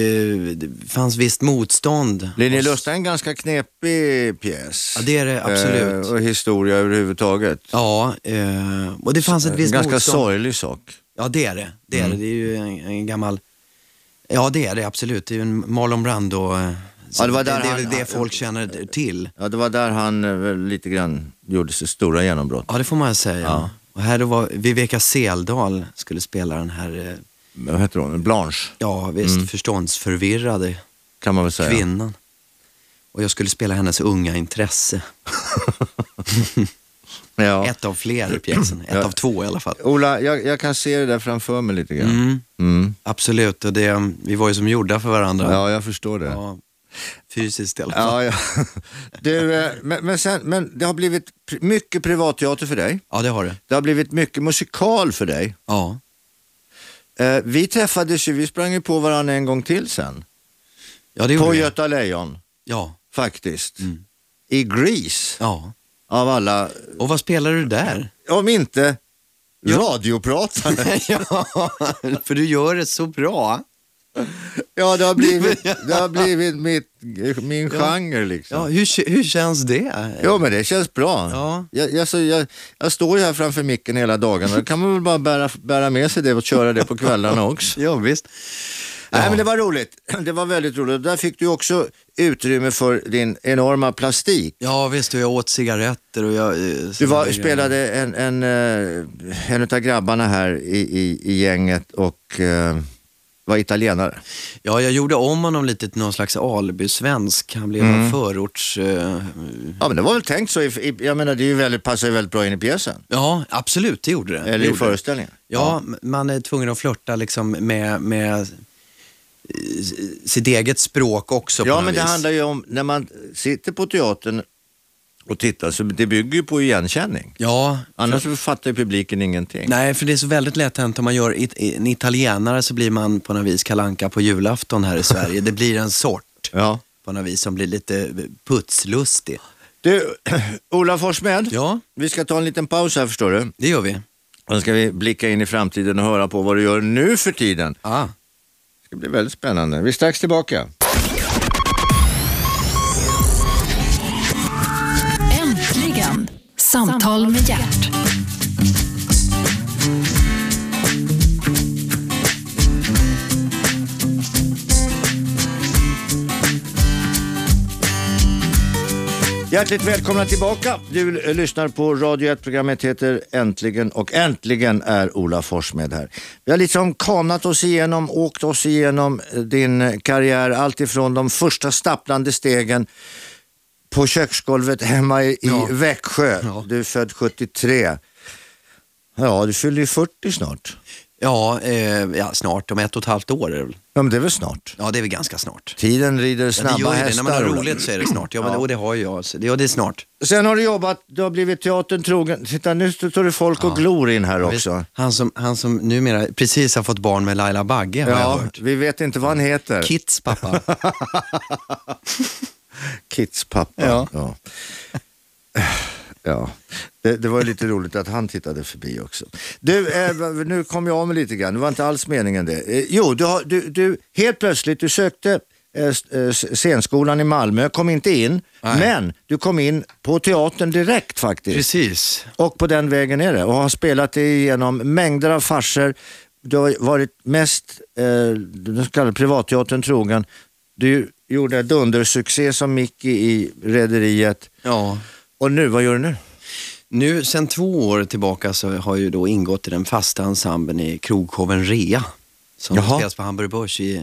det fanns visst motstånd. Linje hos- Lusta är en ganska knepig pjäs. Ja, det är det absolut. Eh, och historia överhuvudtaget. Ja, eh, och det fanns ett en visst ganska Mm. motstånd. sorglig sak. Ja, det är det. Det är, det. det är ju en, en gammal... Ja, det är det absolut. Det är ju en Marlon Brando. eh, Ja, det var där det, är väl han- eh, det folk känner till. Ja, det var där han eh, väl lite grann gjorde sitt stora genombrott. Ja, det får man säga. Ja. Och här då var Viveka Seldal skulle spela den här, eh, Vad heter hon? Blanche, ja visst, Mm. förståndsförvirrade kan man väl säga. kvinnan. Och jag skulle spela hennes unga intresse. Ja. Ett av fler i pjäsen. Ett Ja. av två i alla fall. Ola, jag, jag kan se det där framför mig lite grann. Mm, Mm. absolut, och det, vi var ju som gjorda för varandra. Ja, jag förstår det. Ja, fysiskt i alla fall. Ja, Ja, <laughs> ja. Du, eh, men, men, sen, men det har blivit pri- mycket privatteater för dig. det har det. Det har blivit mycket musikal för dig. Ja. Eh, vi träffades ju, vi sprang ju på varandra en gång till sen. Ja, det gjorde På vi. Mm. Göta Lejon, Ja, faktiskt. I Grease, ja. av alla. Och vad spelade du där? Om inte radiopratare. <laughs> ja, <laughs> för du gör det så bra. ja, det <laughs> har blivit, det har blivit mitt, min genre liksom. Ja, hur, k- hur känns det? Jo men det känns bra. Ja. Jag, jag, så, jag, jag står ju här framför micken hela dagen och då kan man väl bara bära, bära med sig det och köra det på <laughs> kvällarna också. Ja, visst. Nej men det var roligt. <clears throat> Det var väldigt roligt. Där fick du också utrymme för din enorma plastik. Ja, visst. Och jag åt cigaretter och jag... eh, Du var, sådana spelade en, en, eh, en av grabbarna här i, i, i gänget och eh, var italienare. grejer. Ja, jag gjorde om honom lite till någon slags alibi-svensk. Han blev en förorts... eh, Ja men det var väl tänkt så. I, i, jag menar det är ju väldigt, passar ju väldigt bra in i pjäsen. Ja, absolut, det gjorde det. det Eller i gjorde det. föreställningen. Ja, m- man är tvungen att flörta liksom med, med eh, sitt eget språk också på Ja något men det vis. handlar ju om när man sitter på teatern och tittar så det bygger ju på igenkänning. Ja, Annars fattar ju publiken ingenting. Nej, för det är så väldigt lätt hänt om man gör it- en italienare så blir man på något vis kalanka på julafton <laughs> här i Sverige. Det blir en sort Ja. på något vis som blir lite putslustig. Du, <clears throat> Ola Forssmed. Ja, Vi ska ta en liten paus här förstår du. det gör vi. Sen ska vi blicka in i framtiden och höra på vad du gör nu för tiden. Ah. Det ska bli väldigt spännande. Vi är strax tillbaka. Äntligen! Samtal med hjärt. Hjärtligt välkomna tillbaka. Du eh, lyssnar på Radio 1. Programmet heter Äntligen och äntligen är Ola Forssmed här. Vi har liksom kanat oss igenom, åkt oss igenom eh, din eh, karriär. Allt ifrån de första stapplande stegen på köksgolvet hemma i, Ja. i Växjö. Ja. Du är född 73. Ja, du fyller ju 40 snart. Ja, eh, ja, snart. Om ett och ett halvt år är det väl. Ja, men det är väl snart? Ja, det är väl ganska snart. Tiden rider Ja, det snabba gör ju det. När hästar. man har Ola. roligt så är det snart. Ja, men det, och det har jag. Så det, ja, det är snart. Sen har du jobbat, du har blivit teatern trogen. Titta, nu står det folk och glor in här också. Visst, Han som, han som numera precis har fått barn med Laila Bagge har jag Ja, hört. vi vet inte vad han heter. Kits <laughs> pappa. Kits pappa. Ja. Ja. Ja. Det, det var ju lite roligt att han tittade förbi också. Du, eh, v- nu kom jag av mig lite grann. Det var inte alls meningen det. Eh, jo, du, har, du, du helt plötsligt, du sökte eh, s- eh, s- scenskolan i Malmö, kom inte in. Nej. Men du kom in på teatern direkt faktiskt. precis. Och på den vägen är det. Och har spelat dig igenom mängder av farser. Du har varit mest eh, den så kallade privatteatern trogen. Du gjorde dundersuccé som Mickey i Rederiet. Ja. Och nu, vad gör du nu? Nu, sen två år tillbaka så har jag ju då ingått i den fasta ensemblen i krogshowen Rea. Som Jaha. spelas på Hamburg Börs i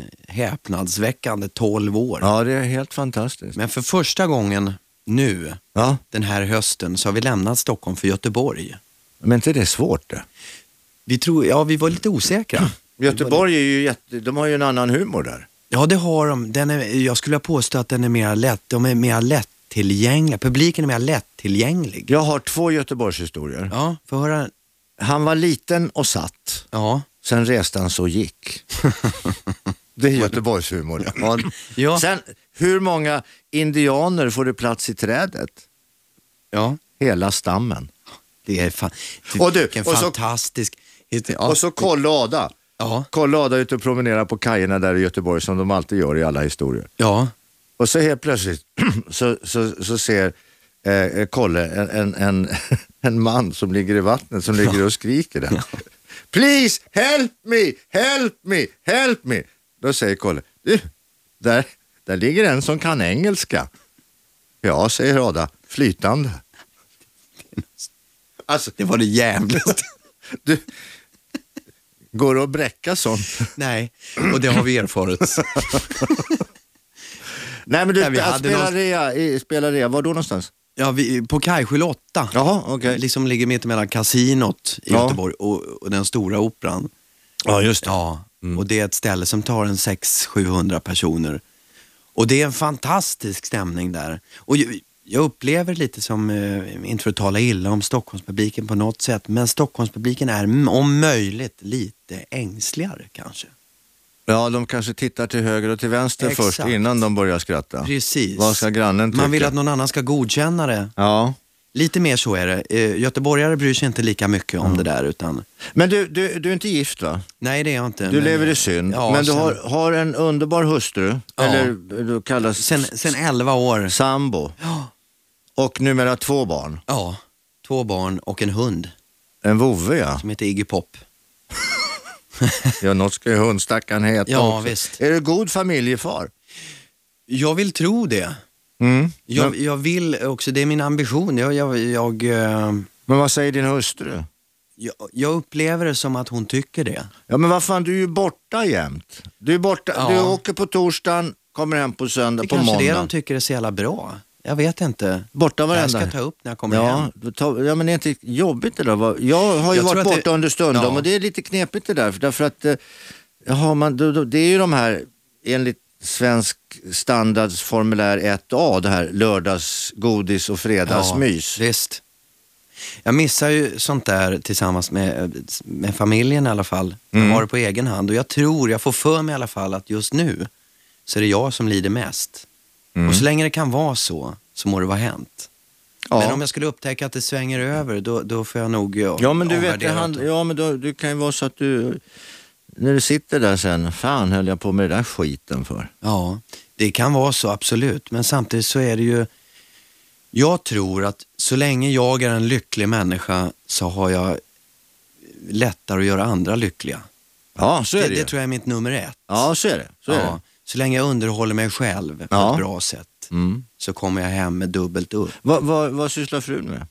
häpnadsväckande 12 år. Ja, det är helt fantastiskt. Men för första gången nu, Ja, den här hösten, så har vi lämnat Stockholm för Göteborg. men inte det är svårt det. Vi tror, ja vi var lite osäkra. Göteborg är ju jätte, de har ju en annan humor där. Ja det har de. Den är, jag skulle påstå att den är mer lätt, de är mer lättillgängliga. Publiken är mer lättillgänglig. Jag har två Göteborgshistorier. Ja, få höra. Han var liten och satt, Ja. sen reste han så och gick. <laughs> Det är Göteborgshumor. <laughs> Ja. Ja. Sen, hur många indianer får det plats i trädet? ja. Hela stammen. Det är fan, Och du, vilken och så- fantastisk historia. Ja. Och så Kolle och Ada. Ja. Kolle och Ada är ute och promenerar på kajerna där i Göteborg som de alltid gör i alla historier. Ja, Och så helt plötsligt <clears throat> så, så, så ser eh, Kolle en, en, en, <laughs> en man som ligger i vattnet som ligger och skriker där. Please help me, help me, help me. Då säger Kolle, du, där, där ligger en som kan engelska. Ja, säger Ada, <laughs> flytande. Alltså, det var det jävligaste. du, går det att bräcka sånt? Nej, och det har vi erfarit. <laughs> Nej, men du, Nej, vi att hade spela någon- rea, i- spela rea, var då någonstans? Ja, vi, på Kajskjul 8, Jaha, okej. liksom ligger mitt emellan kasinot i Ja. Göteborg och, och den stora operan. Ja, just Mm. Ja, och det är ett ställe som tar en 600-700 personer. Och det är en fantastisk stämning där. Och ju- jag upplever lite som, eh, inte för att tala illa om Stockholmspubliken på något sätt, men Stockholmspubliken är m- om möjligt lite ängsligare kanske. Ja, de kanske tittar till höger och till vänster Exakt. först innan de börjar skratta. Precis. Vad ska grannen tycka? Man vill att någon annan ska godkänna det. Ja. Lite mer så är det. Eh, Göteborgare bryr sig inte lika mycket Mm. om det där utan, Men du, du, du är inte gift va? nej det är jag inte. Du men- lever i synd, Ja, men du sen- har, har en underbar hustru, Ja. eller du kallas Sen, sen 11 år. sambo, Ja. och numera två barn. Ja, två barn och en hund En <laughs> vovve ja. som heter Iggy Pop. ja något ska ju hundstackaren heta Ja, också. visst. Är du god familjefar? Jag vill tro det. Mm. Jag, Men, jag vill också, det är min ambition. Jag, jag, jag, eh, men vad säger din hustru? jag, jag upplever det som att hon tycker det. Ja men vad fan, du är ju borta jämt. Du är borta, Ja. du åker på torsdagen, kommer hem på söndag, Det är på kanske det måndag. de tycker är så jävla bra. Jag vet inte. Borta Jag varenda ska ta upp när jag kommer Ja, hem. då tar- ja, men det är inte jobbigt det där. Vad- Jag har ju Jag tror varit att det- borta under stundom Ja. och det är lite knepigt det där. för- Därför att, eh, jaha, man, då, då, det är ju de här, enligt svensk standards formulär 1A, det här lördagsgodis och fredagsmys. Ja, visst. Jag missar ju sånt där tillsammans med, med familjen i alla fall. Mm. Jag har det på egen hand och jag tror, jag får för mig i alla fall att just nu så är det jag som lider mest. Mm. Och så länge det kan vara så, så må det vara hänt. Ja. Men om jag skulle upptäcka att det svänger över, då, då får jag nog eh, Ja men du vet, det omvärdera hand, det. ja, men då, det kan ju vara så att du, när du sitter där sen, fan höll jag på med den där skiten för? Ja, det kan vara så absolut. Men samtidigt så är det ju, jag tror att så länge jag är en lycklig människa så har jag lättare att göra andra lyckliga. Ja, så är det, Det, ju. det tror jag är mitt nummer ett. Ja, så är det. Så är det. Ja, så länge jag underhåller mig själv på Ja. ett bra sätt Mm. så kommer jag hem med dubbelt upp. Vad, vad, vad sysslar frun med?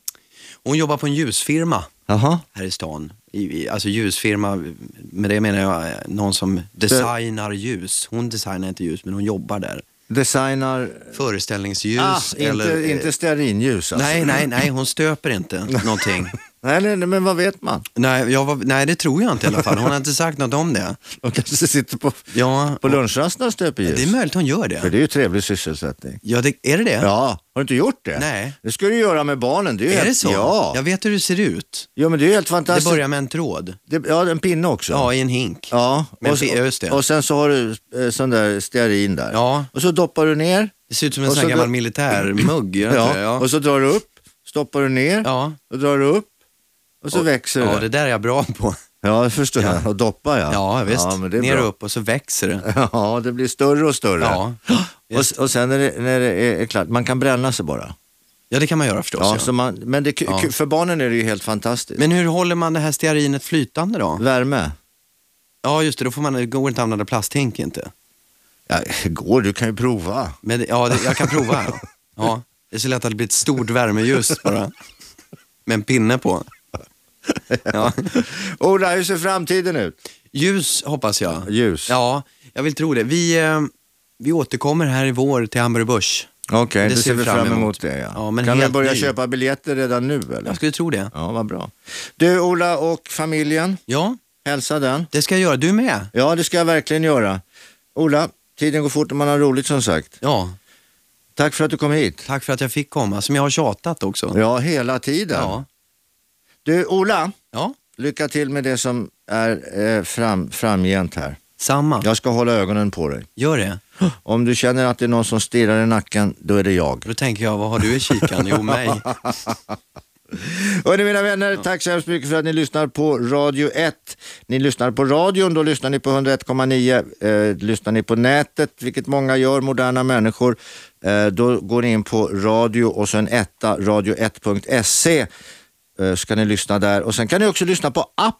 Hon jobbar på en ljusfirma Jaha. här i stan. I, i, alltså ljusfirma, med det menar jag eh, någon som designar ljus. Hon designar inte ljus men hon jobbar där. Designar Föreställningsljus Ah, eller... eh, inte, inte stearinljus alltså. Nej, nej, nej, hon stöper inte någonting. nej. nej, nej, men vad vet man? Nej, jag var, nej, det tror jag inte i alla fall. Hon har inte sagt något om det. De kanske sitter på, Ja, på lunchrasterna och stöper ljus. det är möjligt hon gör För det. det är ju trevlig sysselsättning. Ja, det, är det det? Ja, har du inte gjort det? Nej. Det ska du göra med barnen. Det är, ju Är helt, det så? Ja. Jag vet hur det ser ut. ja, men det är ju helt Det fantastiskt. börjar med en tråd. Det- ja, en pinne också. Ja, i en hink. Ja, Men och, så- fi- ja, just det. och sen så har du eh, sån där stearin där. Ja. Och så doppar du ner. Det ser ut som en Och sån här så gammal dra- militärmugg. gör det inte det? Och så drar du upp, stoppar du ner ja. och drar du upp. Och så Och- växer ja, det. det där är jag bra på. Ja, det förstår Ja. jag. Och doppa ja. Ja, visst. Ja, men det är Ner bra. och upp och så växer det. <laughs> Ja, det blir större och större. Ja. <gasps> Och, och sen när det, när det är, är klart, man kan bränna sig bara. ja, det kan man göra förstås. Ja, ja. så man, men det, Ja. för barnen är det ju helt fantastiskt. Men hur håller man det här stearinet flytande då? Värme? Ja, just det, då får man, det går inte att använda plasthink inte. Ja, det går, du kan ju prova. Men det- ja, det, jag kan prova. Ja. ja. Det är så lätt att det blir ett stort värmeljus bara. Med en pinne på. Ja. Ola, hur ser framtiden ut? Ljus hoppas jag. Ljus? Ja, jag vill tro det. Vi, eh, vi återkommer här i vår till Hamburg Börs. Okej, då ser vi fram emot det. Ja. Ja, men kan man helt börja ny. köpa biljetter redan nu eller? Jag skulle tro det. Ja, vad bra. Du Ola och familjen, Ja, hälsa den. det ska jag göra. Du är med? Ja, det ska jag verkligen göra. Ola, tiden går fort när man har roligt som sagt. Ja, Tack för att du kom hit. tack för att jag fick komma, som jag har tjatat också. Ja, hela tiden. Ja. Du Ola, ja. Lycka till med det som är eh, fram, framgent här. samma. Jag ska hålla ögonen på dig. Gör det. Om du känner att det är någon som stirrar i nacken, då är det jag. Då tänker jag, vad har du i kikan? Jo, mig. Hörni mina vänner, tack så hemskt mycket för att ni lyssnar på Radio 1. Ni lyssnar på radion, då lyssnar ni på 101,9. Eh, lyssnar ni på nätet, vilket många gör, moderna människor, eh, då går ni in på radio och sen etta, radio1.se. Eh, ska ni lyssna där och sen kan ni också lyssna på app.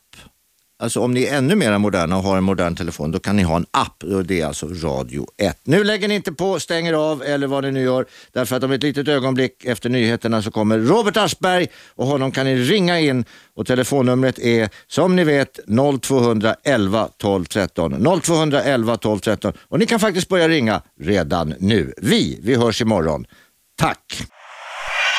Alltså om ni är ännu mer moderna och har en modern telefon, då kan ni ha en app. Och Det är alltså Radio 1. Nu lägger ni inte på, stänger av eller vad ni nu gör. Därför att om ett litet ögonblick efter nyheterna så kommer Robert Aschberg och honom kan ni ringa in. Och telefonnumret är som ni vet 0211 12 13. 0211 12 13. Och ni kan faktiskt börja ringa redan nu. Vi, vi hörs imorgon. Tack!